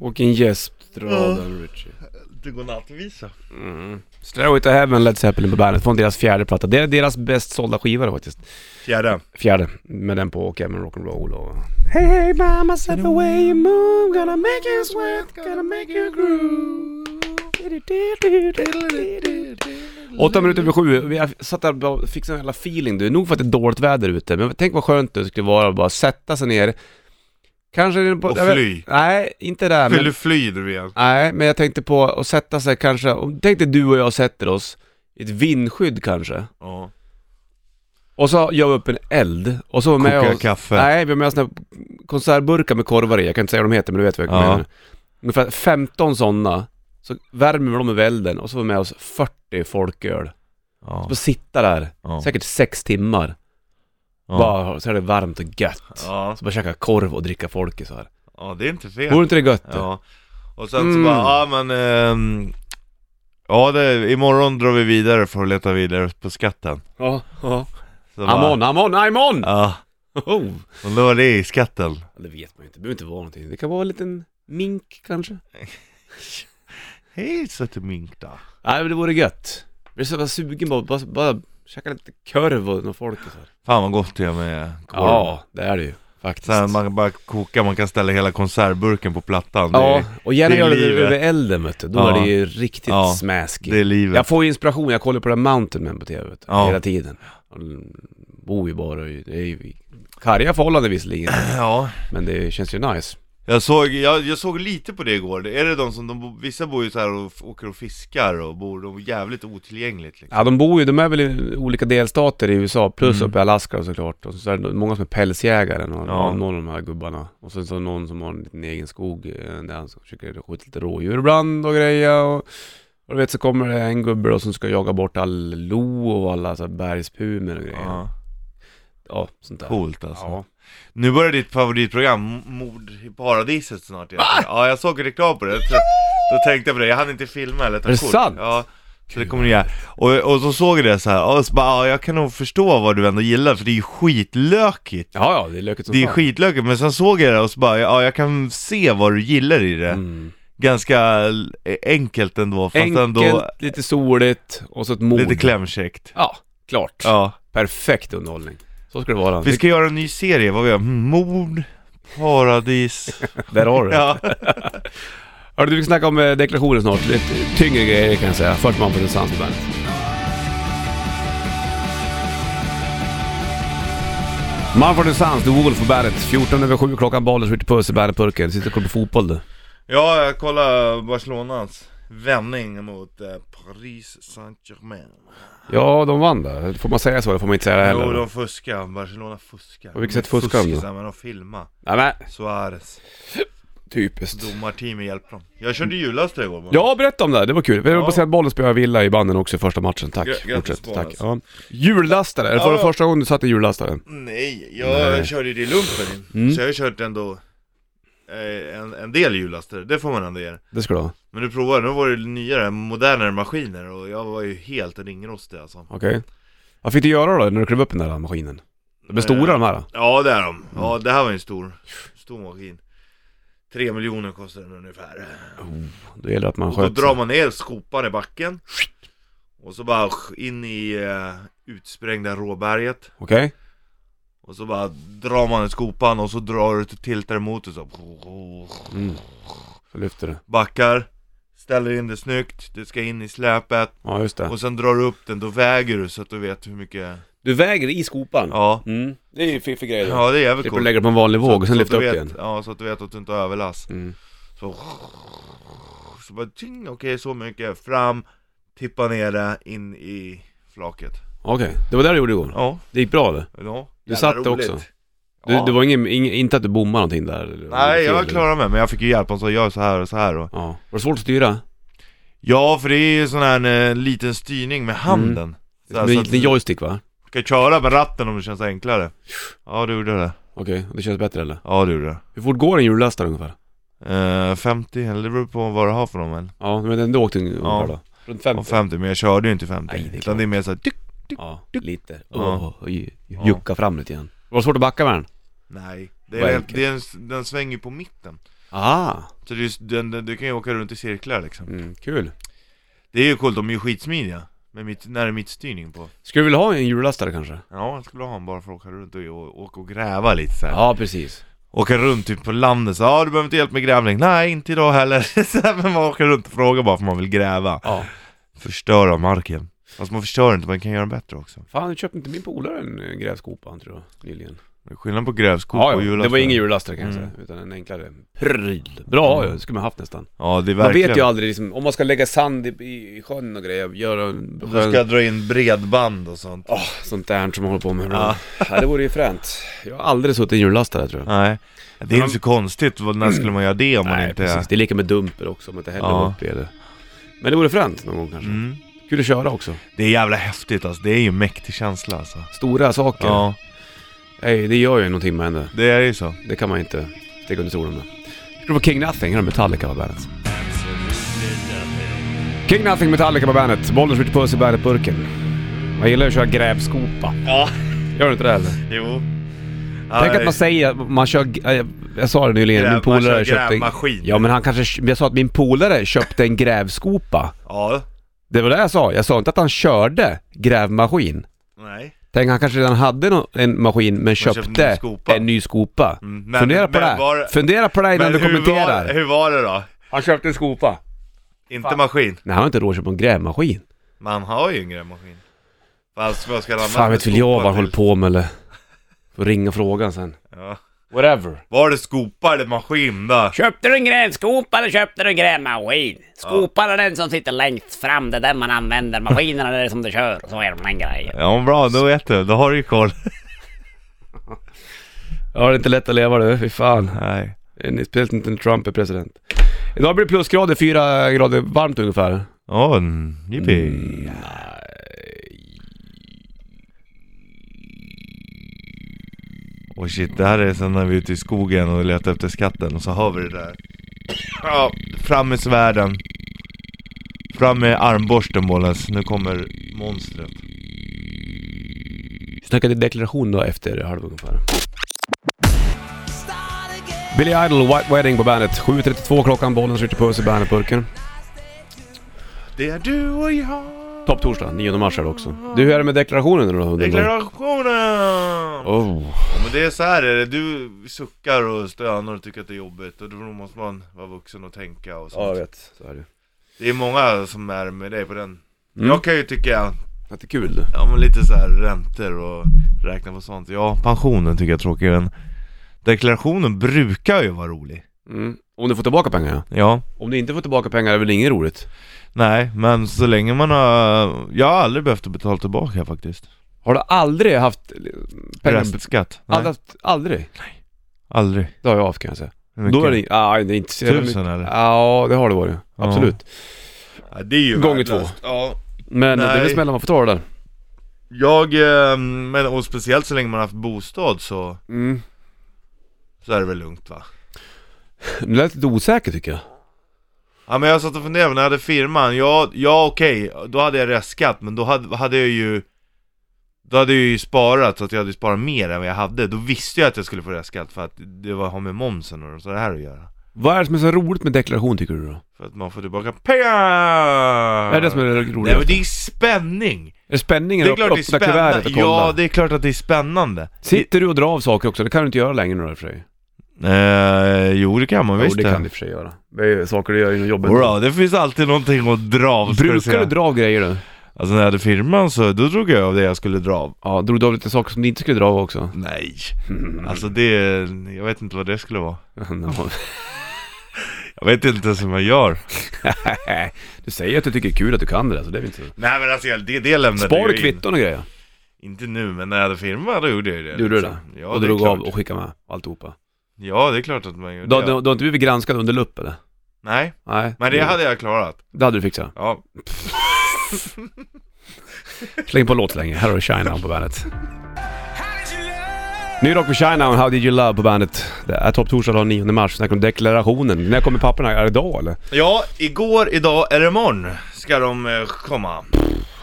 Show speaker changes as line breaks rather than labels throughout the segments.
Vilken gästradar Richie.
Lite godnattvisa.
Mm. Stairway to Heaven, Led Zeppelin på bandet från deras fjärde platta. Det är deras bäst sålda skiva då faktiskt.
Fjärde.
Fjärde, med den på och även rock'n'roll och... Hey hey mama, step the way you move, gonna make you sweat, gonna make you groove. Åtta minuter över sju, jag satt där och bara fick sån jävla feeling du, nog för att det är dåligt väder ute, men tänk vad skönt det skulle vara att bara sätta sig ner, kanske... det är på-
Och
jag vet-
fly.
Nej, inte där,
Vill
men
du fly nu igen?
Nej, men jag tänkte på att sätta sig kanske, om- tänk dig du och jag sätter oss i ett vindskydd kanske.
Ja.
Och så gör vi upp en eld, och så har vi med
Kokar
oss...
kaffe.
Nej, vi har med oss såna här konservburkar med korvar i, jag kan inte säga vad de heter men du vet vad jag
Ja.
menar. Ungefär 15 sådana, så värmer vi dem med elden och så har vi med oss 40 folköl.
Ja.
Så sitta där,
Ja.
säkert 6 timmar,
Ja.
bara så är det varmt och gött.
Ja.
Så bara käka korv och dricka folk så här.
ja, det är inte fel.
Vore inte det gött? Ja.
Ja. Och sen
Mm.
så bara, ja men... ehm, ja, det, imorgon drar vi vidare för att leta vidare på skatten.
ja. ja.
Så
Amon, amon, amon!
Ja,
Oh.
och då är det i skatten.
Ja, Det vet man ju inte, det behöver inte vara någonting. Det kan vara en liten mink kanske.
Hej söte mink då.
Nej men det vore gött. Jag blir så jävla sugen bara, bara, bara käka lite korv och någon folk och så här.
Fan vad gott det är med korv.
Ja, det är det ju faktiskt.
Sen man kan bara koka, man kan ställa hela konservburken på plattan. Det,
ja,
är,
och gärna
det är
göra det
livet.
över elden vet du. Då
Ja.
är det ju riktigt
Ja,
smaskigt.
det är livet.
Jag får ju inspiration, jag kollar på den Mountain Man på TV vet du,
Ja.
hela tiden. Och Bor ju bara i, det är ju karga förhållanden visserligen,
Ja.
men det känns ju nice.
Jag såg, jag, jag såg lite på det igår. Det- Är det de som, de, bo- vissa bor ju så här och f- åker och fiskar och bor de är jävligt otillgängligt liksom.
Ja de bor ju, de är väl i olika delstater i USA, plus uppe i Alaska såklart. Och så är det många som är pälsjägare, och
Mm. Ja.
någon av de här gubbarna. Och sen så någon som har en liten egen skog eh, där han försöker skjuta lite rådjur ibland och grejer. Och, och du vet så kommer det en gubbe då som ska jaga bort all lo och alla så här bergspumer och grejer. Ja,
Ja.
sånt där.
Coolt alltså.
Ja.
Nu börjar ditt favoritprogram, M- Mord i paradiset snart egentligen. Ja, jag såg reklam på det. Jag tror- Då tänkte jag på det, jag hann inte filma eller ta
Är det
kort.
sant?
Ja. Så det kommer ni göra. Och, och så såg jag det så här, och så bara, ja, jag kan nog förstå vad du ändå gillar för det är ju skitlökigt.
ja, ja, det är löket som
Det är
fan.
skitlökigt, men sen såg jag det och så bara, ja jag kan se vad du gillar i det
Mm.
Ganska l- e-, enkelt ändå, fast
Enkelt,
ändå
lite soligt och så ett mod.
lite klämkäckt
Ja, klart.
Ja,
Perfekt underhållning. Så ska det vara.
vi ska göra en ny serie, vad vi gör, Mm, mord, paradis
Där har du det.
Ja,
Hörru, du, vi ska snacka om eh, deklarationer snart. Lite tyngre grejer kan jag säga. Först man på den sans på bandet. Manfred Sans, The Wolf på bandet. 14 över 7 klockan, Bollers, Ritchie Puss i bandetpurken. Sitter och kollar på fotboll du.
ja jag kollar Barcelonas vändning mot eh, Paris Saint-Germain
Ja, de vann där. Får man säga så eller får man inte säga det heller?
Jo, de fuskar, Barcelona fuskar
På vilket sätt fuskar de då?
Fuskisar, men de filmar
Nej, men
Suarez,
typiskt.
domarteamet hjälper dem Jag körde jullastra igår bara.
Ja, berätta om det. här. Det var kul. Vi
Ja.
var på att bollen spöade Villa i banden också i första matchen. Tack.
Gra- grattis,
Fortsätt. Tack.
Bollnäs.
Ja. Jullastare. Eller var det
Ja.
första gången du satt i jullastaren?
Nej, jag
Nej.
körde ju det i lumpen
Mm.
Så jag har ju kört ändå eh, en, en del hjullaster, det får man ändå ge
Det ska du ha.
Men du provar, nu var det nyare, modernare maskiner och jag var ju helt ringrostig alltså
Okej. Vad fick du göra då när du klev upp i den där maskinen? De är stora de här.
Ja det är de, Mm. ja det här var ju en stor, stor maskin Tre miljoner kostar den ungefär
Då gäller det att man
Och då
sköter
drar
sig.
man ner skopan i backen Och så bara in i eh, utsprängda råberget
Okej?
Och så bara drar man i skopan och så drar du tiltar emot och så
Mm. Så lyfter du.
backar, ställer in det snyggt, det ska in i släpet
Ja, just det.
och sen drar du upp den, då väger du så att du vet hur mycket...
Du väger i skopan?
Ja,
Mm. Det är ju fiffig grej.
ja Typ det är
Slipper
jävligt
du
coolt.
lägga det på en vanlig våg och sen
Så-
lyfta
så
upp
att du
igen.
vet- Ja, så att du vet att du inte har överlast.
Mm.
Så, så bara ting, okej så mycket, fram, tippa ner det, in i flaket.
Okej, det var det du gjorde igår.
Ja,
Det gick bra eller?
ja.
Du
jävla
satt det
roligt.
också? Du,
Ja.
Det var ingen, ingen, inte att du bommade någonting där? eller-
Nej,
fel,
jag
eller?
klarade mig, men jag fick ju hjälp, han sa gör så här och så här och...
Ja. Var det svårt att styra?
Ja, för det är ju sån här eh, liten styrning
Mm.
med handen. Så här,
Med
så
en
att-
liten joystick va?
Ska jag köra med ratten om det känns enklare? Ja det gjorde det,
Okej, och det känns bättre eller?
ja det gjorde det
Hur fort går en jullastare ungefär?
Eh, 50, eller det beror på vad du har för dem men
Ja, men den du åkte ungefär
Ja.
då? Runt
Och
50?
50, men jag körde ju inte 50
Nej, det är
Utan
klart.
det är mer såhär, tyck!
Ja, lite.
Ja.
Oh, jucka fram lite igen. Var det svårt att backa med den?
Nej, det
Vad
är,
enkelt.
det är en, den svänger ju på mitten
Ah,
Så du, den, den, du kan ju åka runt i cirklar liksom
mm, kul.
Det är ju coolt, de är ju skitsmidiga Med mitt, nära mittstyrning på
Skulle du vilja ha en hjullastare kanske?
Ja, jag skulle ha en bara för att åka runt och, och, åka och gräva lite så här.
Ja, precis.
Åka runt typ på landet så ja du behöver inte hjälp med grävling Nej, inte idag heller så här, Men man åker runt och frågar bara för man vill gräva
Ja.
Förstöra marken Fast man förstör inte, man kan göra den bättre också
Fan, köpte inte min polare en eh, grävskopa tror jag, nyligen?
Det är Skillnad på grävskopa
Ja,
och
ja.
hjullastare
Det var ingen hjullastare kan jag
Mm.
säga, utan en enklare Mm. pryl. Bra ju, det skulle man haft nästan.
Ja, det är
Man
verkligen
vet ju aldrig liksom, om man ska lägga sand i, i sjön och grejer, göra en
Du
sjön...
ska dra in bredband och sånt
Åh, sånt där som man håller på med ibland. Ja, det vore ju fränt. Jag har aldrig suttit i en hjullastare tror jag.
Nej, Mm. det är inte så konstigt, vad- när skulle man göra det om man
Nej,
inte...
precis. Det är lika med dumper också, om man inte heller
Ja.
var uppe i det. Men det vore fränt någon gång kanske.
Mm.
Kul att köra också.
Det är jävla häftigt alltså, det är ju en mäktig känsla alltså
Stora saker.
Ja,
Nej, det gör ju någonting med en det.
det är ju så
Det kan man ju inte sticka under stolen med. Skulle vara King Nothing, eller Metallica var bandet. King Nothing, Metallica var bandet. Bollnäs Ritchie Puss i bandet-burken. Man gillar ju att köra grävskopa.
Ja,
Gör du inte det heller?
jo
Tänk att man säger, att man kör, g- jag, jag sa det nyligen,
Gräv-
min
man kör
polare köpte en,
grävmaskin.
Ja men han kanske, jag sa att min polare köpte en grävskopa.
Ja,
Det var det jag sa, jag sa inte att han körde grävmaskin.
nej
Tänk han kanske redan hade nå- en maskin men
köpte
köpte,
en ny skopa.
en ny skopa.
Mm, men-
Fundera på
men
det här.
var-
Fundera på det här innan du kommenterar.
Var, hur var det då?
Han köpte en skopa.
Inte maskin?
Nej han har inte råd att köpa en grävmaskin.
Man har ju en grävmaskin Fast vad ska han använda
Fan vet väl jag vad han håller på med eller? Får ringa frågan sen.
ja.
Whatever.
Var det skopa eller maskin då?
Köpte du en grävskopa eller köpte du en grävmaskin? Skopan är den som sitter längst fram, det är den man använder. Maskinerna är det som du kör. Så är det med den grejen.
Ja men bra, då vet du, då har du ju koll
Ja det är inte lätt att leva du, fy fan.
Nej
En- Speciellt inte när Trump är president. Idag blir det plusgrader, fyra grader varmt ungefär.
Åh, mm, jippi Och shit, det här är sen när vi är ute i skogen och letar efter skatten och så har vi det där Ja, fram med svärden Fram med armborsten Bollens, nu kommer monstret
Vi snackade deklaration då efter halv ungefär. Billy Idol, White Wedding på bandet. 7.32 klockan, bollen skjuter puss i bandetburken.
Det är du och jag
Topp torsdag, 9 mars är det också. Du, hur är det med deklarationen nu då? hunden?
Deklarationen!
Oh.
Ja, Men det är så här är det, du suckar och stönar och tycker att det är jobbigt och då måste man vara vuxen och tänka och sånt.
Ja, jag vet. Så är det.
Det är många som är med dig på den
Mm.
Jag kan ju tycka,
Det är kul du.
ja men lite så här räntor och räkna på sånt Ja, pensionen tycker jag är tråkigare än Deklarationen brukar ju vara rolig
Mm. Om du får tillbaka pengar ja.
Ja,
Om du inte får tillbaka pengar är det väl inget roligt?
nej men så länge man har Jag har aldrig behövt att betala tillbaka faktiskt
Har du aldrig haft eh, pengar?
Restskatt? Nej,
Aldrig, haft- aldrig?
aldrig
Det har jag haft kan jag säga.
Hur mycket?
Då är det, ah, det är inte så jävla mycket.
Tusen eller?
Ja, det har det varit. Absolut.
Ja, det är ju
Gånger
värdelöst. Ja,
Men eh, det är väl
Nej.
smällar man får ta det där.
Jag, eh, men och speciellt så länge man har haft bostad så,
Mm.
så är det väl lugnt va?
Det lät lite osäker tycker jag.
Ja men jag satt och funderade, när jag hade firman, ja, ja okej, då hade jag restskatt men då hade, hade jag ju Då hade jag ju sparat så att jag hade sparat mer än vad jag hade, då visste jag att jag skulle få restskatt för att det var, har med momsen och så det här att göra
Vad är det som är så roligt med deklaration tycker du då?
För att man får tillbaka pengar!
Är det det som är det roliga?
Nej men det är spänning!
Är det spänningen
Det är
att
klart det är
öppna kuvertet
spännande,
och kolla?
ja det är klart att det är spännande
Sitter du och drar av saker också? Det kan du inte göra längre nu då i och för sig.
Eh, jo det kan man visst
jo, det kan du i och för sig göra. Det är saker du gör inom jobbet.
Bra, det finns alltid någonting att dra av ska jag
Brukar
säga.
du dra av grejer då?
Alltså när jag hade firman så, då drog jag av det jag skulle dra av
Ja, drog du av lite saker som du inte skulle dra av också?
Nej, alltså det, jag vet inte vad det skulle vara Jag vet inte ens hur man gör
du säger att du tycker det är kul att du kan det där, så det är väl inte så.
Nej men alltså jag- det, det lämnade
Spar
jag
du
in.
kvitton och grejer?
Inte nu, men när jag hade firma då gjorde jag ju det
Gjorde du
liksom.
det?
Ja,
och
det är
drog
klart
av och skickade med alltihopa?
Ja, det är klart att man gör
Du har
det
du har inte blivit granskad under lupp eller?
Nej,
Nej.
men det hade jag klarat
Det hade du fixat.
Ja,
Släng på en låt så länge. Här har du Shinedown på bandet. Ny rock med Shinedown, How Did You Love på bandet. Det är topp torsdag den 9 mars. Snackar om deklarationen. När kommer papperna? Är det idag eller?
ja igår, idag eller imorgon ska de eh, komma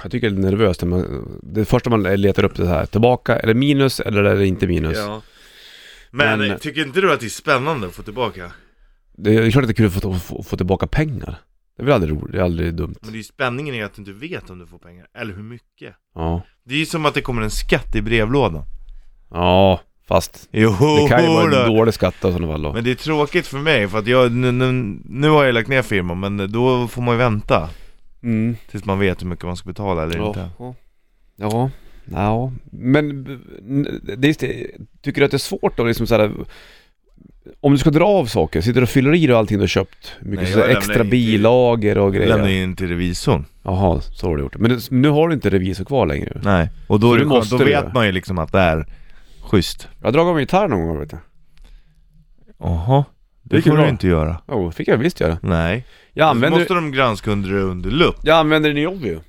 Jag tycker det är nervöst när man... Det första man letar upp det här. Tillbaka, är det minus eller är det inte minus?
Ja men,
Men-
tycker inte du att det är spännande att få tillbaka?
Det är klart att det är kul att få, få, få tillbaka pengar. Det är väl aldrig roligt, det är aldrig dumt.
Men det är ju spänningen i att du inte vet om du får pengar, eller hur mycket
Ja.
Det är ju som att det kommer en skatt i brevlådan
Ja, fast
Jo,
det kan ju vara
då.
en dålig skatt i sådana fall då.
Men det är tråkigt för mig, för att jag, nu, nu, nu har jag lagt ner firman, men då får man ju vänta
Mm.
Tills man vet hur mycket man ska betala eller inte
Ja. Ja. ja. Men b- n- det är just det, tycker du att det är svårt då liksom så här, om du ska dra av saker, sitter du och fyller i då allting du har köpt? Mycket
Nej,
så här
jag lämnar
extra
inte-
bilager och grejer?
Lämna in till revisorn
Jaha, så har du gjort. Men det- nu har du inte revisor kvar längre.
Nej, och då,
Så
är det
du
skönt,
måste
då
du
vet
göra.
man ju liksom att det är schysst
Jag har dragit av min gitarr någon gång vet du.
Jaha, det,
Det gick ju
får du
bra.
inte göra
Jo, oh, fick jag visst göra.
Nej,
Jag
då
använder,
måste de granska under, under lupp
jag använder den i jobb ju.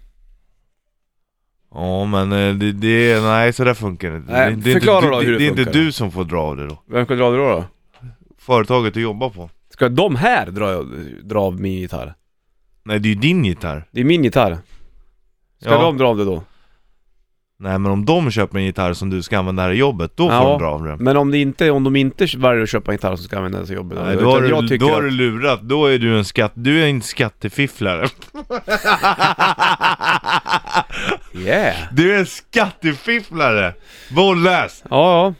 Ja men eh, det, det, nej så där funkar det inte
Nej,
det, det är
förklara
inte,
då hur det
är inte
funkar.
du som får dra av det då
Vem ska dra det då? då?
Företaget du jobbar på
Ska de här dra, dra av min gitarr?
Nej det är ju din gitarr
Det är min gitarr. Ska
Ja.
de dra av det då?
Nej men om de köper en gitarr som du ska använda här i jobbet, då får
Ja.
de dra av den
Men om, det inte, om de inte väljer att köpa en gitarr som ska användas i jobbet
Nej,
utan
då har,
jag
du,
tycker
då har du
att,
lurat, då är du en skatt, du är en skattefifflare
Yeah!
Du är en skattefifflare! Vårdlös!
Ja, ja.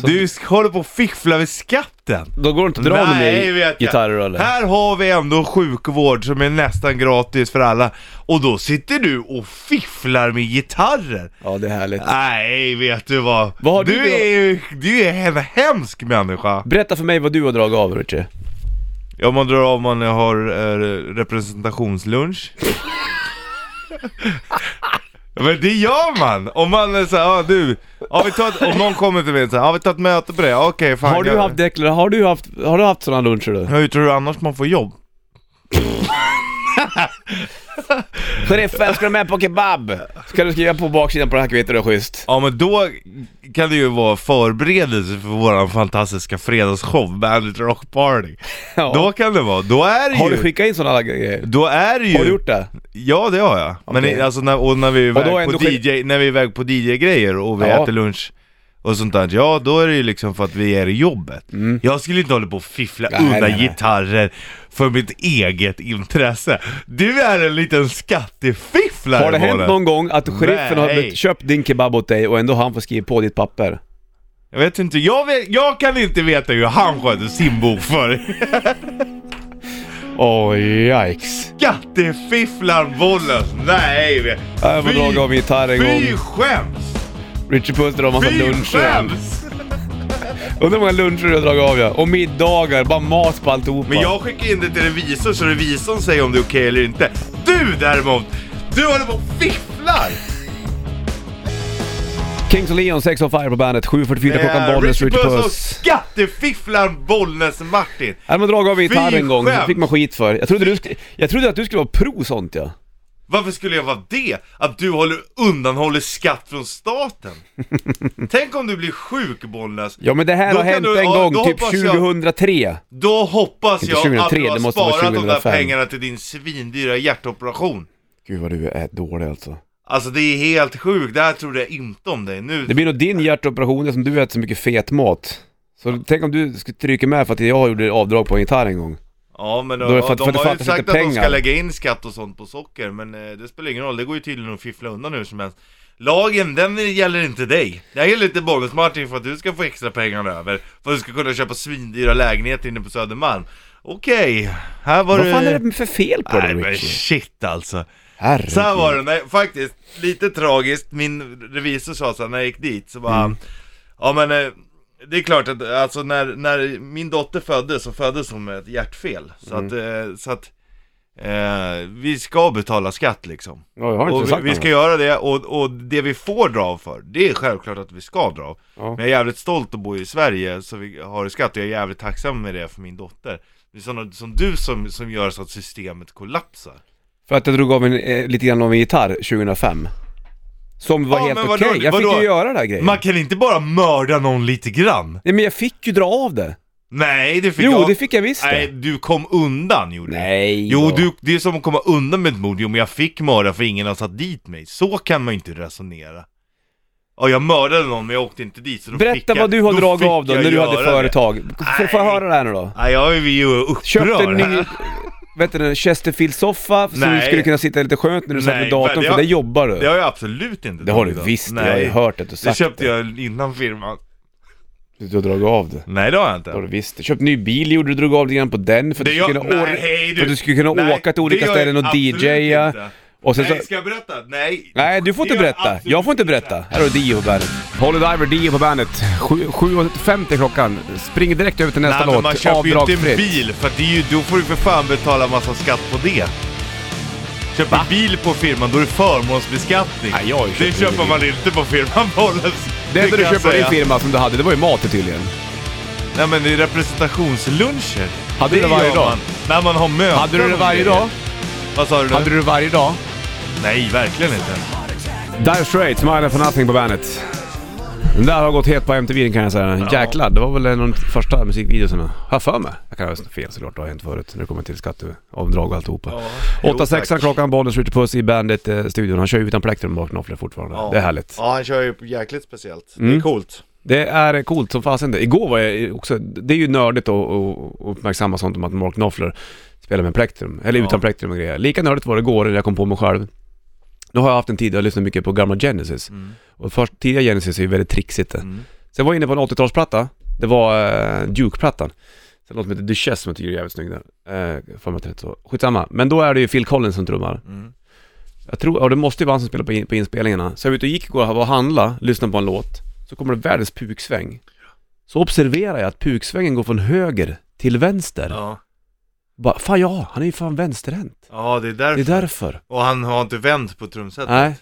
Så-
Du sk- håller på och fifflar med skatten!
Då går det inte att dra av
Nej,
med
vet jag.
gitarrer eller?
Här har vi ändå sjukvård som är nästan gratis för alla, och då sitter du och fifflar med gitarrer!
Ja, det är härligt.
Nej, vet du vad?
Vad har
du,
du då?
är ju, du är en hemsk människa!
Berätta för mig vad du har dragit av Richie.
Ja, man drar av man har eh, representationslunch. Men det gör man! Om man är såhär, ja du, ja, vi tar ett, om någon kommer till mig och säger, ja vi tar ett möte på det, okej fan
Har du
jag-
haft deklar, har du haft, har du haft sådana luncher du?
Hur tror du annars man får jobb?
Sheriffen, ska du med på kebab? Ska du skriva på baksidan på det här kvittot, det är schysst.
Ja men då kan det ju vara förberedelse för våran fantastiska fredagsshow, Bandit Rock Party.
Ja.
Då kan det vara, då är det
har
ju...
du skickat in sådana grejer?
då är det ju...
Har du gjort det?
Ja det har jag. Men
Okej.
i- alltså när, och när vi är
då har
iväg på
ändå skett-
DJ, när vi är iväg på DJ-grejer och vi
Ja.
äter lunch och sånt där, ja då är det ju liksom för att vi är i jobbet. Jag skulle inte hålla på och fiffla
Mm. Nej,
undan
nej, nej.
gitarrer för mitt eget intresse. Du är en liten skattefifflare
Har det hänt
Bolle.
någon gång att sheriffen har
Nej.
köpt din kebab åt dig och ändå han får skriva på ditt papper?
Jag vet inte, jag, vet, jag kan inte veta hur han sköter sin bokföring.
Åh, yikes.
Skattefifflaren Bollens, nej! vet-
Jag får
Fy-
dra av min gitarr en
Fy
gång.
skäms!
Richie Puss drar en massa
Fy
luncher.
skäms!
Undrar hur många luncher du har dragit av ja. Och middagar, bara mat på alltihopa.
Men jag skickar in det till revisorn så revisorn säger om det är okej eller inte. Du däremot, du håller på och fifflar!
Kings och Leon, 6 on fire på bandet. 7.44 klockan, Bollnäs, Richie
Eh, och
Puss.
skattefifflaren Bollnäs-Martin.
Nej men dragit av gitarr
Fy
en gång, det
skämt.
fick man skit för. Jag trodde, du sk- jag trodde att du skulle vara pro sånt ja.
Varför skulle jag vara det? Att du håller, undanhåller skatt från staten? Tänk om du blir sjuk Bollnäs.
Ja men det här
Då
har
kan
hänt
du-
en
ja, då
gång, typ
hoppas jag-
2003.
Då hoppas
Inte
jag
2003,
att
det
du har
måste vara
sparat de där
2005.
pengarna till din svindyra hjärtoperation.
Gud vad du är dålig alltså.
Alltså det är helt sjukt, det här trodde jag inte om dig nu.
Det blir nog din hjärtoperation eftersom du äter så mycket fet mat. Så tänk om du skulle trycka med för att jag gjorde avdrag på en gitarr en gång.
Ja men
Då är det för att-
de
för att det
har ju
fattas
sagt
inte
att de
pengar.
ska lägga in skatt och sånt på socker, men eh, det spelar ingen roll, det går ju tydligen att fiffla undan hur som helst Lagen, den gäller inte dig. Den gäller inte Bollnäs Martin för att du ska få extra pengar över, för att du ska kunna köpa svindyra lägenheter inne på Södermalm. Okej, här var
Vad
det...
fan är det för fel på
Nej
dig
men
Richie?
shit alltså.
Herregud.
Så här var det, nej, faktiskt, lite tragiskt, min revisor sa så här, när jag gick dit så
Mm.
bara Ja men eh, det är klart att alltså när, när min dotter föddes så föddes hon med ett hjärtfel Så att,
Mm.
eh, så att eh, vi ska betala skatt liksom
Ja, jag har inte
och vi,
sagt
vi ska
något.
göra det och, och det vi får dra av för, det är självklart att vi ska dra av.
Ja.
Men jag är jävligt stolt att bo i Sverige så vi har skatt och jag är jävligt tacksam med det för min dotter. Det är sådana som du som, som gör så att systemet kollapsar.
För att jag drog av en, eh, lite grann av en gitarr 2005. Som var
Ja,
helt
men
okej.
vadå?
Jag fick
Vadå?
ju göra den här grejen.
Man kan inte bara mörda någon lite grann.
Nej men jag fick ju dra av det.
Nej, det fick
Jo,
jag.
det fick jag visst
Nej,
det.
du kom undan gjorde du.
Nej.
Jo,
då.
du, det är som att komma undan med ett mord. Jo, men jag fick mörda för ingen har satt dit mig. Så kan man ju inte resonera. Ja, jag mördade någon men jag åkte inte dit så då fick
Berätta
jag,
vad du har
då
dragit
fick
av då,
jag
när du hade
göra
företag. F- Får jag
Nej.
höra det här nu då?
Det. Nej, jag är ju upprörd.
Köpte en ny,
här.
vet du, en Chesterfield-soffa så du
Nej.
skulle kunna sitta lite skönt när du satt
Nej,
vid datorn,
men
för
jag-
där jobbar du.
Det har jag absolut inte
det har du
dragit av.
visst, jag har ju hört att du
Det
sagt
köpte
det.
jag innan firman.
Du har dragit av det.
Nej det har jag inte.
Det har du visst. Du köpte ny bil, gjorde du drog av lite grann på den för att
Det
du
gör-
skulle kunna,
nej, hej,
or- för att du skulle kunna
nej,
åka till
det
olika
gör
ställen och
jag absolut
DJa.
inte.
Och sen så...
Nej, ska jag berätta? Nej.
Nej, du får
Det
inte
gör jag
berätta.
absolut
Jag får inte berätta. Här har du Dio på bandet. Holy Diver, Dio på bandet. 7.50 klockan. Spring direkt över till nästa
Nej men
låt.
man köper ju inte en bil för det är ju, då får du för fan betala massa skatt på det. Köper bil på firman då är det förmånsbeskattning.
Nej, jag har ju
det
köpt bil.
köper man inte på firman Bollnäs.
Det enda du
kan jag
köpte på din
säga.
firma som du hade, det var ju mat tydligen.
Nej men det är representationsluncher.
Hade du det
gör
varje dag?
Man, när man har möten
Hade du det
och
varje
grejer.
dag?
Vad sa du nu?
Hade du det varje dag?
Nej, verkligen inte.
Dire Straits, Mile for Nothing på bandet. Den där har gått het på MTV kan jag säga. Jäklar, det var väl en av de första musikvideorna. Har jag för mig. Jag kan ha fel såklart, det har hänt förut när det kommer till skatteavdrag och alltihopa.
Jo,
8-6
tack.
klockan, Bollnäs Ritchie Puss i Bandit-studion. Han kör ju utan plektrum bakom knåfflor fortfarande. Det är härligt.
Ja, han kör ju jäkligt speciellt. Det
Mm.
är coolt.
Det är coolt som fasen det. Igår var jag också, det är ju nördigt att att- att uppmärksamma sånt om att Mark Knopfler spelar med plektrum, eller
Ja.
utan plektrum och grejer. Lika nördigt var det igår när jag kom på mig själv. Nu har jag haft en tid, jag har lyssnat mycket på gamla Genesis.
Mm.
Och först, tidiga Genesis är ju väldigt trixigt det.
Mm.
Sen var jag inne på en 80-talsplatta, det var eh, Duke-plattan. Sen något som heter Duchess som jag tycker är jävligt snygg där. Eh, för mig att det heter så. Skitsamma. Men då är det ju Phil Collins som trummar.
Mm.
Jag tror, och det måste ju vara han som spelar på, in, på inspelningarna. Så jag var ute och gick igår och var och handla, lyssnade på en låt, så kommer det världens puksväng. Så observerar jag att puksvängen går från höger till vänster.
Ja.
Bara, fan ja, han är ju fan vänsterhänt.
ja, det är därför.
Det är därför.
Och han har inte vänt på trumsetet.
Nej.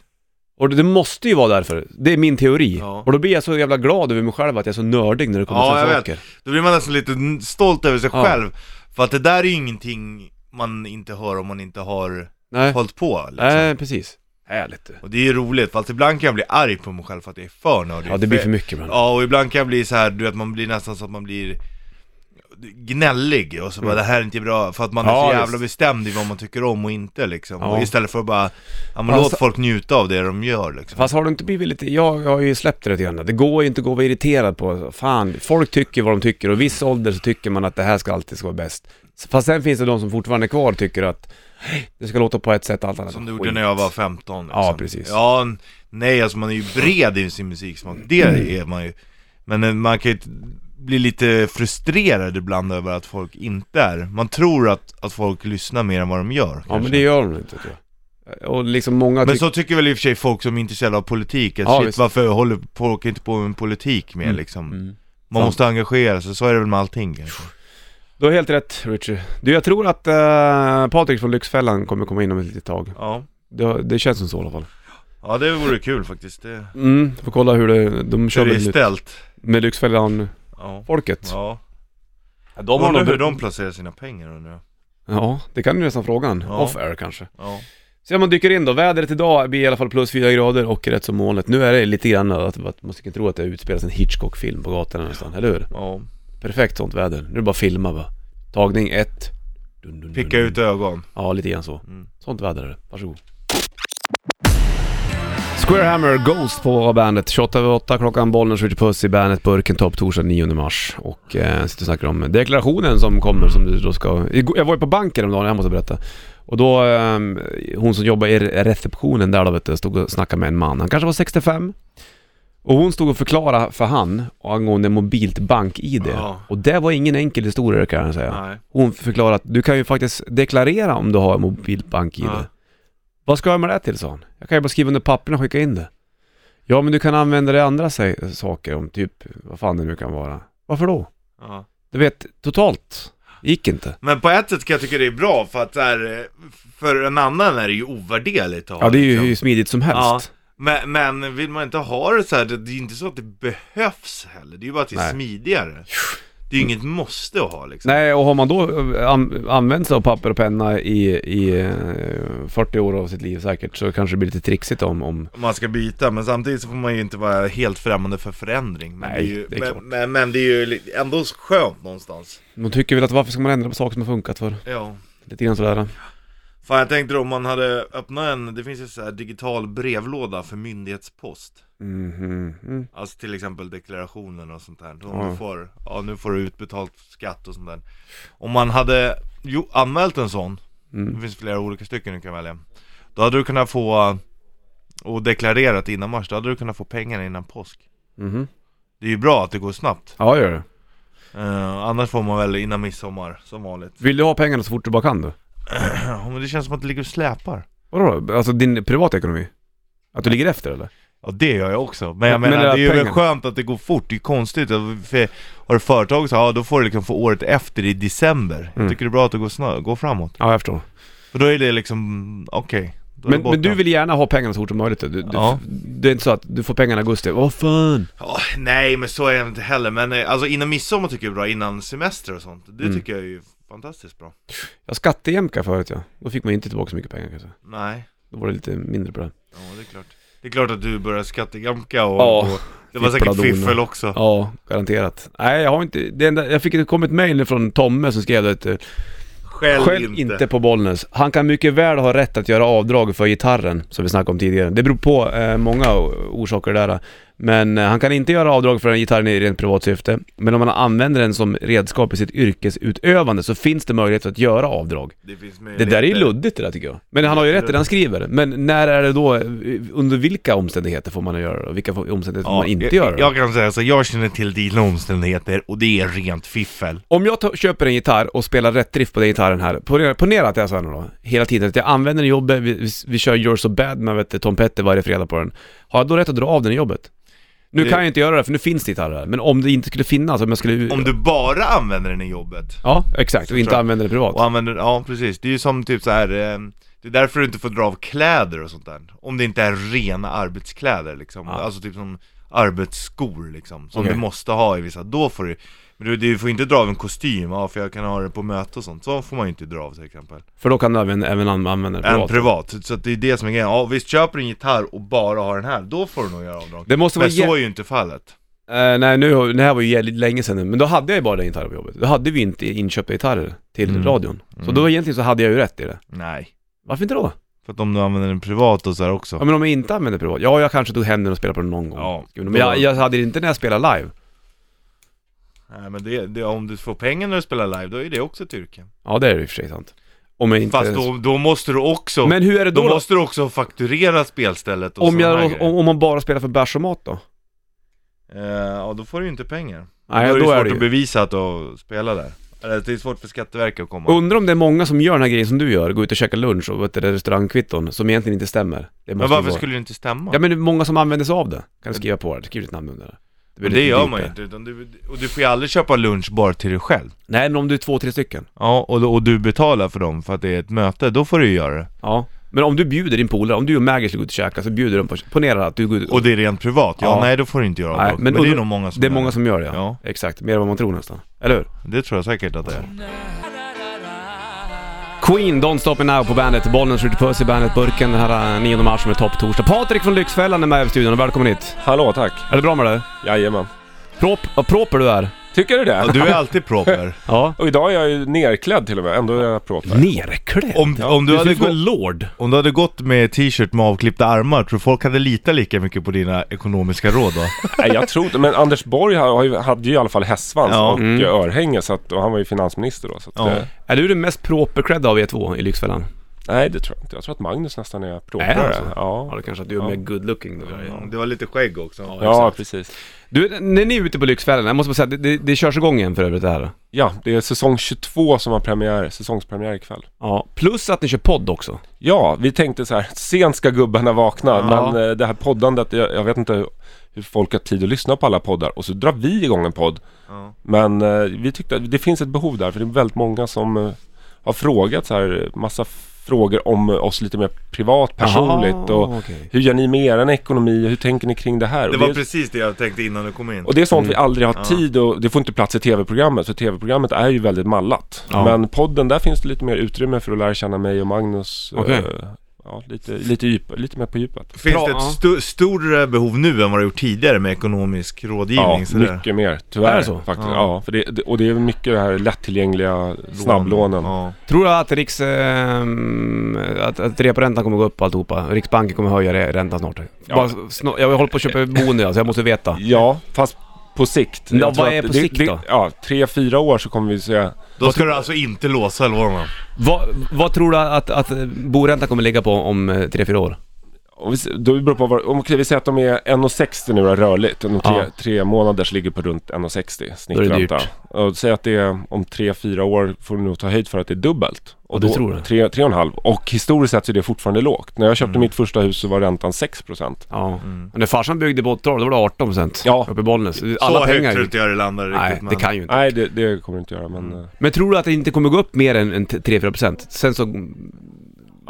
Och det, det måste ju vara därför. Det är min teori.
Ja.
Och då blir jag så jävla glad över mig själv att jag är så nördig när det kommer
Ja,
till
jag
sådana
vet.
saker.
Då blir man nästan lite n- stolt över sig
Ja.
själv. För att det där är ju ingenting man inte hör om man inte har
Nej.
hållit på. Liksom.
Nej, precis. Härligt du.
Och det är ju roligt, för att ibland kan jag bli arg på mig själv för att det är för nördigt.
Ja, det blir för mycket ibland.
Ja, och ibland kan jag bli så här, du vet man blir nästan så att man blir gnällig och så bara det här är inte bra för att man
Mm. Ja,
är så
visst.
jävla bestämd i vad man tycker om och inte liksom.
Ja.
Och istället för att bara, ja men
Fast-
låt folk njuta av det de gör liksom.
Fast har du inte blivit lite, jag, jag har ju släppt det lite grann. Det går ju inte att gå och vara irriterad på, fan, folk tycker vad de tycker och i viss ålder så tycker man att det här ska alltid ska vara bäst. Fast sen finns det de som fortfarande är kvar och tycker att det ska låta på ett sätt, allt annat
Som du
skit.
gjorde när jag var 15 liksom.
Ja, precis.
Ja, n- nej alltså man är ju bred i sin musiksmak, det
Mm.
är man ju Men eh, man kan ju t- bli lite frustrerad ibland över att folk inte är Man tror att, att folk lyssnar mer än vad de gör
Ja
kanske.
men det gör de inte tror jag. Och liksom många
Men
tycker...
så tycker väl i och för sig folk som är intresserade av politik, att
Ja,
shit
visst.
varför håller folk inte på med politik mer
Mm.
liksom?
Mm.
Man
Sant.
måste engagera sig, så är det väl med allting kanske.
Du har helt rätt Richie. Du jag tror att eh, Patrik från Lyxfällan kommer komma in om ett litet tag.
Ja,
Det, det känns som så i alla fall.
ja det vore kul faktiskt, det,
Mm, får kolla hur det, de
hur
kör
det är
väl
ställt
med Lyxfällan-folket.
Ja, ja.
De
Undrar hur de placerar sina pengar undrar jag
Ja, det kan du nästan frågan.
Ja.
Off air kanske.
Ja,
Se om man dyker in då. Vädret idag blir i alla fall plus 4 grader och rätt som molnigt. Nu är det lite grann att, att man kan tro att det utspelas en Hitchcock-film på gatan nästan, eller hur?
ja
Perfekt sånt väder. Nu är det bara att filma va. Tagning 1. Dun, dun, dun,
Picka ut ögon
Ja, lite grann så.
Mm.
Sånt väder är det. Varsågod. Square Hammer Ghost på bandet. 28 över 8 klockan, bollen skjuter puss i bandet, burken topp torsdag 9 mars. Och eh, sitter och snackar om deklarationen som kommer som du då ska... Igår- Jag var ju på banken om dagen, jag måste berätta. Och då, eh, hon som jobbar i receptionen där då vet du, stod och snackade med en man. Han kanske var 65. Och hon stod och förklarade för han angående mobilt bank-id.
Ja.
Och det var ingen enkel historia kan jag säga.
Nej
Hon förklarade att du kan ju faktiskt deklarera om du har en mobilbank-id.
Ja.
Vad ska jag med det till, sa han. Jag kan ju bara skriva under papperna och skicka in det. Ja, men du kan använda det i andra sä- saker om typ, vad fan det nu kan vara. Varför då?
ja.
Du vet, totalt gick inte.
Men på ett sätt kan jag tycka det är bra för att så här, eh, för en annan är det ju ovärderligt att ha
Ja, det är ju
liksom.
hur smidigt som helst.
men, men vill man inte ha det så här, det det är ju inte så att det behövs heller Det är ju bara att det är
Nej. Mm.
smidigare Det är ju inget måste att ha liksom
Nej, och har man då eh, an- använt sig av papper och penna i, i eh, 40 år av sitt liv säkert, så kanske det blir lite trixigt om, om
man ska byta, men samtidigt så får man ju inte vara helt främmande för förändring men
Nej,
det är ju,
det är klart.
men, men, men det är ju li- ändå skönt någonstans
man tycker väl att varför ska man ändra på saker som har funkat för?
Ja
Lite grann sådär.
Fan jag tänkte då om man hade öppnat en, det finns ju så här digital brevlåda för myndighetspost
Mhm. Mm.
Alltså till exempel deklarationen och sånt där. Om
Ja.
du får, ja nu får du utbetalt skatt och sånt där. Om man hade jo, anmält en sån, det
Mm.
finns flera olika stycken du kan välja. Då hade du kunnat få, eh, och deklarerat innan mars, då hade du kunnat få pengarna innan påsk.
Mhm.
Det är ju bra att det går snabbt.
Ja, gör det.
Eh, annars får man väl innan midsommar, som vanligt.
Vill du ha pengarna så fort du bara kan då?
Ja, men det känns som att det ligger och släpar.
Vadå? Alltså din privatekonomi? Att du ligger efter eller?
Ja det gör jag också, men jag
Men
menar
det där
det är ju
pengarna.
skönt att det går fort, det är ju konstigt att- för Har du företag så, ja då får du liksom få året efter i december
Mm.
Jag tycker det är bra att det går, snö, går framåt
Ja, jag förstår.
För då är det liksom, okej då är
Men,
det borta.
men du vill gärna ha pengarna så fort som möjligt? Du, du,
Ja.
Det är inte så att du får pengarna i augusti, åh fan!
Ja, Nej men så är jag inte heller, men eh, alltså innan midsommar tycker jag är bra, innan semester och sånt Det
Mm.
tycker jag är ju fantastiskt bra
Jag skattejämkade förut ja. Då fick man ju inte tillbaka så mycket pengar kanske.
Nej,
Då var det lite mindre på det.
ja det är klart Det är klart att du börjar skattejamka och,
Ja.
och Det var säkert
Fippladona.
fiffel också
Ja, garanterat. Nej, jag har inte, det enda, jag fick ett kommit mail nu från Tomme som skrev att eh,
Själv,
Skäll inte på Bollnäs. Han kan mycket väl ha rätt att göra avdrag för gitarren, som vi snackade om tidigare. Det beror på eh, många o- orsaker där. Men eh, han kan inte göra avdrag för den gitarren i rent privat syfte. Men om man använder den som redskap i sitt yrkesutövande så finns det möjlighet att göra avdrag.
Det, finns
Det där är ju
möjligheter.
luddigt det där tycker jag. Men han har ju rätt i det han skriver. Men när är det då, eh, under vilka omständigheter får man göra det och vilka får- omständigheter får man inte
jag,
göra det?
Jag kan säga så, jag känner till dina omständigheter och det är rent fiffel.
Om jag ta- köper en gitarr och spelar rätt drift på den gitarren här, ponera, ponera att jag är såhär nu då, hela tiden, att jag använder den i jobbet, vi, vi, vi kör You're So Bad med vet, du, Tom Petty varje fredag på den. Har jag då rätt att dra av den i jobbet? Nu
Det-
kan jag inte göra det för nu finns det gitarrer här, men om det inte skulle finnas, om jag skulle...
Om du bara använder den i jobbet.
Ja, exakt, och inte
tror jag.
använder det privat.
Och använder, ja precis, det är ju som typ så här. eh, det är därför du inte får dra av kläder och sånt där. Om det inte är rena arbetskläder liksom.
Ja.
Alltså typ som arbetsskor liksom, som
Okej.
du måste ha i vissa, då får du men du, du får inte dra av en kostym, ja, för jag kan ha den på möte och sånt, så får man ju inte dra av till exempel
För då kan du även, även an- använda det
En
privat.
privat, så att det är det som är grejen, ja visst köper du en gitarr och bara har den här, då får du nog göra avdrag
Det måste vara...
Men
Jä-
så är ju inte fallet
Eh, nej, nu, har- det här var ju jävligt länge sedan nu, men då hade jag ju bara den gitarren på jobbet. Då hade vi inte inköpta gitarrer till
Mm.
radion. Så
Mm.
då egentligen så hade jag ju rätt i det.
Nej
Varför inte då?
För att om du använder den privat och så här också
Ja men om jag inte använder privat, ja jag kanske tog hem den och spelade på den någon gång.
Ja.
Men jag, jag hade det inte när jag spelade live.
Nej men det, det, om du får pengar när du spelar live, då är det också ett yrke
Ja det är ju i och för sig sant. Om jag inte...
Fast då, då måste du också,
Men hur är det
då,
då? då
måste du också fakturera spelstället och
om,
såna här
jag,
grejer.
om, om man bara spelar för bärs och mat då?
Eh, Ja då får du ju inte pengar
Nej,
Då är det
då
svårt
är det
att
ju.
bevisa att du spelar där Eller det är svårt för Skatteverket att komma
Undrar om det är många som gör den här grejen som du gör, går ut och käkar lunch och vet du, det där restaurangkvitton som egentligen inte stämmer. Det
Men
måste ju
varför
vara-
skulle det inte stämma?
Ja men det är många som använder sig av det. Kan du skriva på det? Skriv ditt namn under det. blir
men det
lite
gör
dyrt
man ju
det.
inte, utan du, och du får ju aldrig köpa lunch bara till dig själv
Nej men om du är två, tre stycken.
Ja, och, och du betalar för dem för att det är ett möte, då får du ju göra det
Ja. Men om du bjuder din polare, om du och Maggie skulle gå ut och käka så bjuder de på, ponera att du går ut
Och det är rent privat, ja,
Ja.
nej då får du inte göra
Nej,
avdrag.
men
men, det
undra-
är nog många som
Det är
gör
många som gör det ja.
Ja.
Exakt, mer än vad man tror nästan. Eller hur?
Det tror jag säkert att det är
Queen, Don't Stop Me Now på bandet. Bollen skjuter puss i bandet Burken den här eh, 9 mars som är topptorsdag. Patrik från Lyxfällan är med i studion och välkommen hit.
Hallå, tack.
Är det bra med dig?
Jajamän.
Prop, vad proper du är.
Tycker du
ja,
det?
Du är alltid proper
Ja.
Och idag är jag ju nerklädd till och med, ändå är jag proper.
Nerklädd?
om, om, du
Du ser
hade
ut som
gått,
en lord.
om du hade gått med t-shirt med avklippta armar, tror du folk hade litat lika mycket på dina ekonomiska råd då?
Nej, jag tror inte, men Anders Borg har- har ju- hade ju i alla fall hästsvans
Ja.
och
Mm.
örhänge, så att, och han var ju finansminister då. Så att,
Ja.
eh,
Är du den mest properklädda av er två i Lyxfällan?
nej, det tror jag inte. Jag tror att Magnus nästan är proprare.
Är han så? Ja,
Ja,
det kanske att du är
Ja.
mer good looking och grejer.
Det var lite skägg också
ja precis.
Du, när ni är ute på Lyxfällan, jag måste bara säga, det, det, det körs igång igen för övrigt det här.
Ja, det är säsong 22 som har premiär, säsongspremiär ikväll.
Ja. Plus att ni kör podd också.
Ja, vi tänkte så här, sent ska gubbarna vakna,
Ja.
men eh, det här poddandet, jag, jag vet inte hur folk har tid att lyssna på alla poddar och så drar vi igång en podd.
Ja.
Men eh, vi tyckte att det finns ett behov där, för det är väldigt många som eh, har frågat så här, eh, massa frågor om eh, oss lite mer privat, personligt och
Aha, Ah, okej.
hur gör ni med er ekonomi och hur tänker ni kring det här?
Det
och,
var
det, är-
precis det jag tänkte innan du kom in
och det är sånt
Mm.
vi aldrig har
Ja.
tid och det får inte plats i tv-programmet, för tv-programmet är ju väldigt mallat.
Ja.
Men podden, där finns det lite mer utrymme för att lära känna mig och Magnus.
Okej.
eh, ja, lite, lite, djup, lite mer på djupet.
Finns
Bra,
det
ja.
ett st- större behov nu än vad det gjort tidigare med ekonomisk rådgivning?
Ja,
sådär?
mycket mer. Tyvärr
Är det så?
faktiskt.
Ja.
Ja. för det, det- och det är mycket det här lättillgängliga snabblånen.
Ja.
Tror du att Riks... ehm, att, att reporäntan kommer gå upp alltihopa? Riksbanken kommer höja re- räntan snart.
Ja.
Bara, snor- jag håller på att köpa boende alltså, jag måste veta.
Ja, fast på sikt.
Ja,
Jag tror
vad är
att
på
det,
sikt
det,
då?
Ja, tre, fyra år så kommer vi se.
Då ska du alltså inte låsa lånen?
Vad, vad tror du att, att boräntan kommer ligga på om 3-4 år?
Om vi, se- då beror det på vad, om, okej, vi säger att de är 1,60 nu då, rörligt. Om tre,
Ja.
tre månader så ligger på runt 1,60
Då är det dyrt.
snittränta. Och Säg att det är om tre, fyra år får du nog ta höjd för att det är dubbelt.
Ja,
Och
du tror det?
Tre, tre och en halv. Och historiskt sett så är det fortfarande lågt. När jag
Mm.
köpte mitt första hus så var räntan 6%.
Ja. När farsan byggde på 80 då var det 18 procent
Mm. Ja.
uppe i Bollnäs.
så
Alla
högt
pengar
tror
gick.
inte jag det landar
Nej,
riktigt.
det kan ju inte.
Nej, det, det kommer det inte göra. Men, eh,
Men tror du att det inte kommer gå upp mer än, än 3-4 procent? Sen så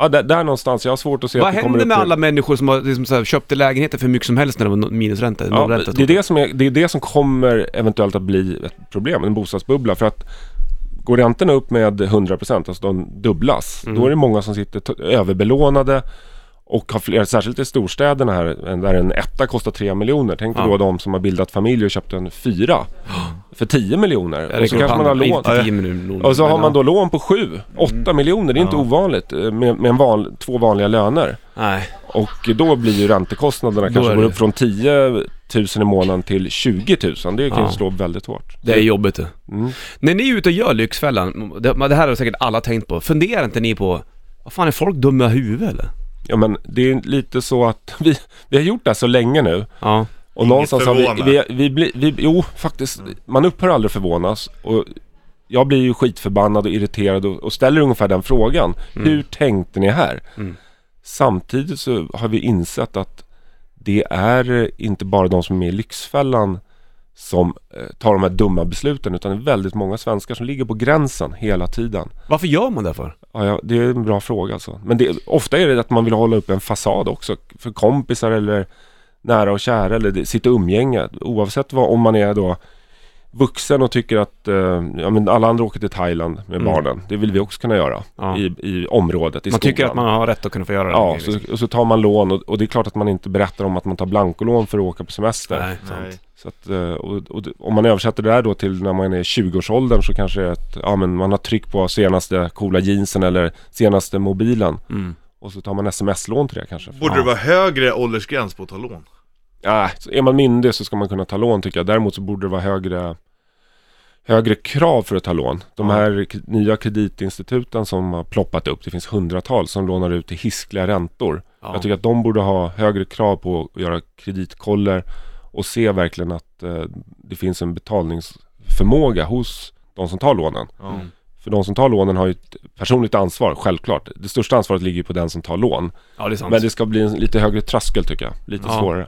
Ja, där, där någonstans. Jag har svårt att se
Vad
att det kommer
händer
upp
med
till-
alla människor som har liksom så här, köpte lägenheter för mycket som helst när det var no- minusränta?
Ja,
nollränta,
det, är det, som är, det är det som kommer eventuellt att bli ett problem, en bostadsbubbla. För att går räntorna upp med 100%, alltså de dubblas,
Mm.
då är det många som sitter t- överbelånade och har fler, särskilt i storstäderna här, en- där en etta kostar 3 miljoner. Tänk
Ja.
då de som har bildat familj och köpt en fyra för 10 miljoner.
Jag
Och så
räcker upp
kanske man har
handen.
lån.
Inte tio miljoner. Mm.
Och så har
men,
man
ja.
då lån på 7, 8 miljoner. Det är inte
Ja.
ovanligt eh, med, med en van, två vanliga löner.
Nej.
Och då blir ju räntekostnaderna
Då är
kanske
det.
går upp från 10 000 i månaden till 20 000. Det kan
Ja.
ju slå väldigt hårt.
Det är jobbigt det.
Mm.
När ni är ute och gör Lyxfällan, det, men det här har säkert alla tänkt på. Funderar inte ni på, vad fan är folk dumma i huvudet eller?
Ja men det är lite så att vi, vi har gjort det här så länge nu.
Ja.
Och
Inget
någonstans har vi,
förvånande.
vi, vi, blir- vi, jo faktiskt, man upphör aldrig att förvånas. Och jag blir ju skitförbannad och irriterad och, och ställer ungefär den frågan. Hur tänkte ni här? Samtidigt så har vi insett att det är eh, inte bara de som är med i Lyxfällan som eh, tar de här dumma besluten utan det är väldigt många svenskar som ligger på gränsen hela tiden.
Varför gör man det för?
Ja, ja, det är en bra fråga alltså. Men det, ofta är det att man vill hålla upp en fasad också för kompisar eller nära och kära eller det- sitt umgänge. Oavsett vad, om man är då vuxen och tycker att eh, ja, men alla andra åker till Thailand med barnen. Det vill vi också kunna göra
Mm. Ja.
i, i området, i
Man tycker
skolan.
att man har rätt att kunna få göra det. liksom.
Ja, så, och så tar man lån och, och det är klart att man inte berättar om att man tar blankolån för att åka på semester.
Nej,
Nej.
sant.
Så att, eh, och, och, det- om man översätter det där då till när man är 20-årsåldern så kanske det är att ja, men man har tryck på senaste coola jeansen eller senaste mobilen.
Mm.
Och så tar man sms-lån till det kanske.
Borde det vara högre åldersgräns på att ta lån?
Ja, Ah, så är man myndig så ska man kunna ta lån tycker jag. Däremot så borde det vara högre, högre krav för att ta lån. De här k- nya kreditinstituten som har ploppat upp, det finns hundratals som lånar ut till hiskliga räntor.
Ja.
Jag tycker att de borde ha högre krav på att göra kreditkoller och se verkligen att eh, det finns en betalningsförmåga hos de som tar lånen.
Ja.
Mm.
För de som tar lånen har ju ett personligt ansvar, självklart. Det största ansvaret ligger ju på den som tar lån.
Ja, det är sant.
Men det ska bli en lite högre tröskel tycker jag. Lite
Ja.
svårare.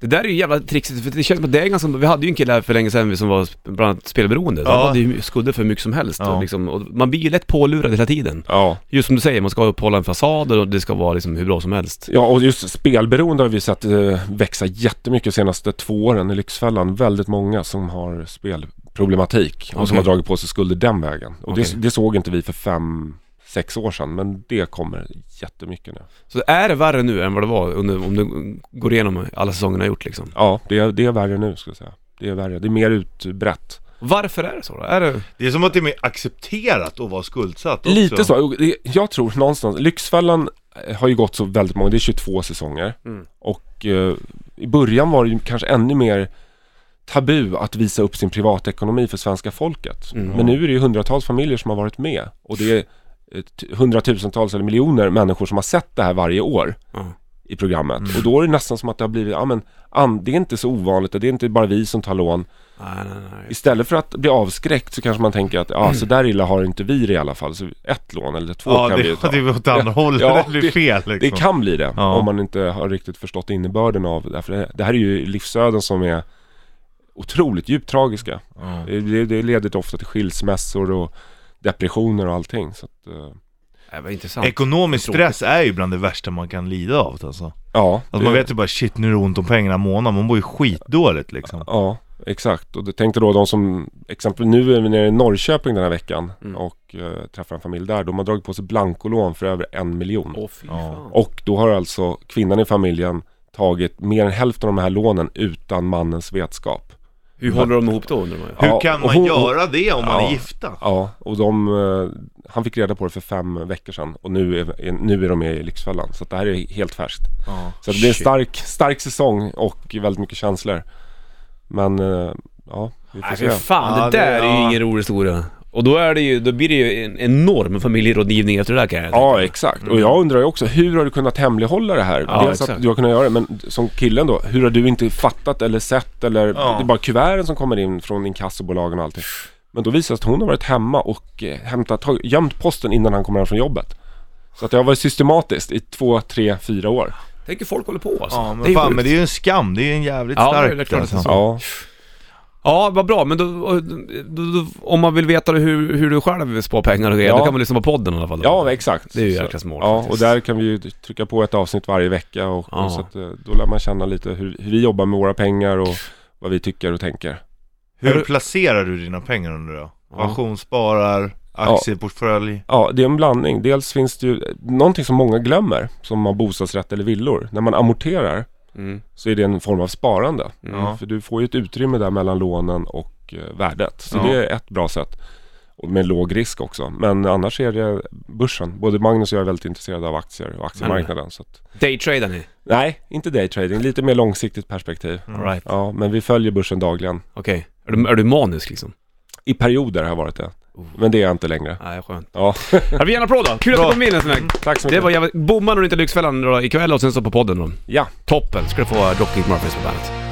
Det där är ju jävla trixigt, för det känns som att det är ganska, vi hade ju en kille här för länge sedan som var sp- bland annat spelberoende.
Ja.
Han hade ju skulder för hur mycket som helst.
Ja.
Och liksom, och man blir ju lätt pålurad hela tiden.
Ja.
Just som du säger, man ska uppehålla en fasad och det ska vara liksom hur bra som helst.
Ja, och just spelberoende har vi sett eh, växa jättemycket de senaste två åren i Lyxfällan. Väldigt många som har spelproblematik och
Okej.
som har dragit på sig skulder den vägen. Och
Okej.
det, det såg inte vi för fem, sex år sedan, men det kommer jättemycket nu.
Så är det värre nu än vad det var under, om du går igenom alla säsongerna gjort liksom?
Ja, det är, det är värre nu ska jag säga. Det är värre, det är mer utbrett.
Varför är det så då? Är det...
Det är som att det är mer accepterat att vara skuldsatt också.
Lite så. Och det- Jag tror någonstans, Lyxfällan eh, har ju gått så väldigt många, det är 22 säsonger.
Mm.
Och eh, i början var det ju kanske ännu mer tabu att visa upp sin privatekonomi för svenska folket.
Mm.
Men nu är det ju hundratals familjer som har varit med. Och det är eh, t- hundratusentals eller miljoner människor som har sett det här varje år
Ja. Mm.
i programmet. Och då är det nästan som att det har blivit, ja men an, det är inte så ovanligt och det är inte bara vi som tar lån.
Nej, nej, Mm. nej.
Istället för att bli avskräckt så kanske man tänker att ja, så där illa har inte vi det i alla fall. Så ett lån eller två
Ja,
kan vi ju
det,
ta.
det är åt andra hållet.
Ja,
det blir fel liksom.
Det kan bli det
Ja.
om man inte har riktigt förstått innebörden av det. här. För det- det här är ju livsöden som är otroligt djupt tragiska.
Ja.
Det- Det, det leder ofta till skilsmässor och depressioner och allting. Så att, eh,
Det var intressant.
Ekonomisk
Tråkigt.
stress är ju bland det värsta man kan lida av alltså.
ja,
Alltså
det-
man vet ju bara shit nu är det ont om pengarna månaden, man mår ju skitdåligt liksom.
ja, Exakt, och det tänkte då de som, exempel nu är vi nere i Norrköping den här veckan
Mm.
och eh, träffar en familj där. De har dragit på sig blankolån för över en miljon.
Åh fy
Ja.
fan.
Och då har alltså kvinnan i familjen tagit mer än hälften av de här lånen utan mannens vetskap.
Hur håller de ihop då undrar man ju.
Hur
Ja,
kan
och
man
hon-
göra det om man
Ja.
är gifta?
Ja, och de, eh, han fick reda på det för fem veckor sedan och nu är, är- nu är de med i Lyxfällan. Så att det här är helt färskt.
Ja.
Så att det blir en
Shit.
stark, stark säsong och väldigt mycket känslor. Men eh, ja, vi får
Nej
se.
fy fan,
Ja,
det
det-
där är ju
ja.
ingen rolig historia. Och då, är det ju, då blir det ju en enorm familjerådgivning efter det där kan jag tänka.
Ja, exakt. Och jag undrar ju också, hur har du kunnat hemlighålla det här?
Mm. Ja,
Dels
exakt.
att du har kunnat göra det, men som killen då, hur har du inte fattat eller sett eller...
Ja.
Det är bara kuverten som kommer in från inkassobolagen och allting. Men då visar det sig att hon har varit hemma och eh, hämtat, tag- gömt posten innan han kommer hem från jobbet. Så att det har varit systematiskt i två, tre, fyra år.
Tänk hur folk håller på alltså.
Ja, men det fan,
sjukt.
men det är ju en skam. Det är ju en jävligt alltså.
Ja,
stark...
det är klart att det är så.
Ja,
Ja, vad bra. Men då, då, då, om man vill veta hur, hur du själv spar pengar och grejer,
Ja.
då kan man lyssna på podden i alla fall.
ja exakt.
Det är ju
Så-
jäkla smart
Ja,
faktiskt.
och där kan vi ju trycka på ett avsnitt varje vecka och,
Ja.
och så att, eh, då lär man känna lite hur, hur vi jobbar med våra pengar och vad vi tycker och tänker.
Är
Hur
du-
placerar du dina pengar under då?
Ja.
Pensionssparar, aktieportfölj?
Ja, det är en blandning. Dels finns det ju eh, någonting som många glömmer som har bostadsrätt eller villor. När man amorterar
Mm.
så är det en form av sparande.
Mm.
Ja.
För du får ju ett utrymme där mellan lånen och eh, värdet. Så
Ja.
det är ett bra sätt. Och med låg risk också. Men annars är det börsen. Både Magnus och jag är väldigt intresserade av aktier och aktiemarknaden. Så att...
Daytradar ni?
Nej, inte daytrading. Lite mer långsiktigt perspektiv.
Mm.
All right.
Ja, men vi följer börsen dagligen.
Okej. Är, du, är du manisk liksom?
I perioder har jag varit det.
Oh.
Men det är jag inte längre.
Nej, skönt.
Ja,
Ja, vi ger en applåd då. Kul att du
Bra.
kom in en sån här.
tack så mycket.
Det var jävligt... Bommar du inte Lyxfällan då ikväll och sen så på podden då.
Ja.
Toppen. Ska du få Dropkick Murphys på bandet.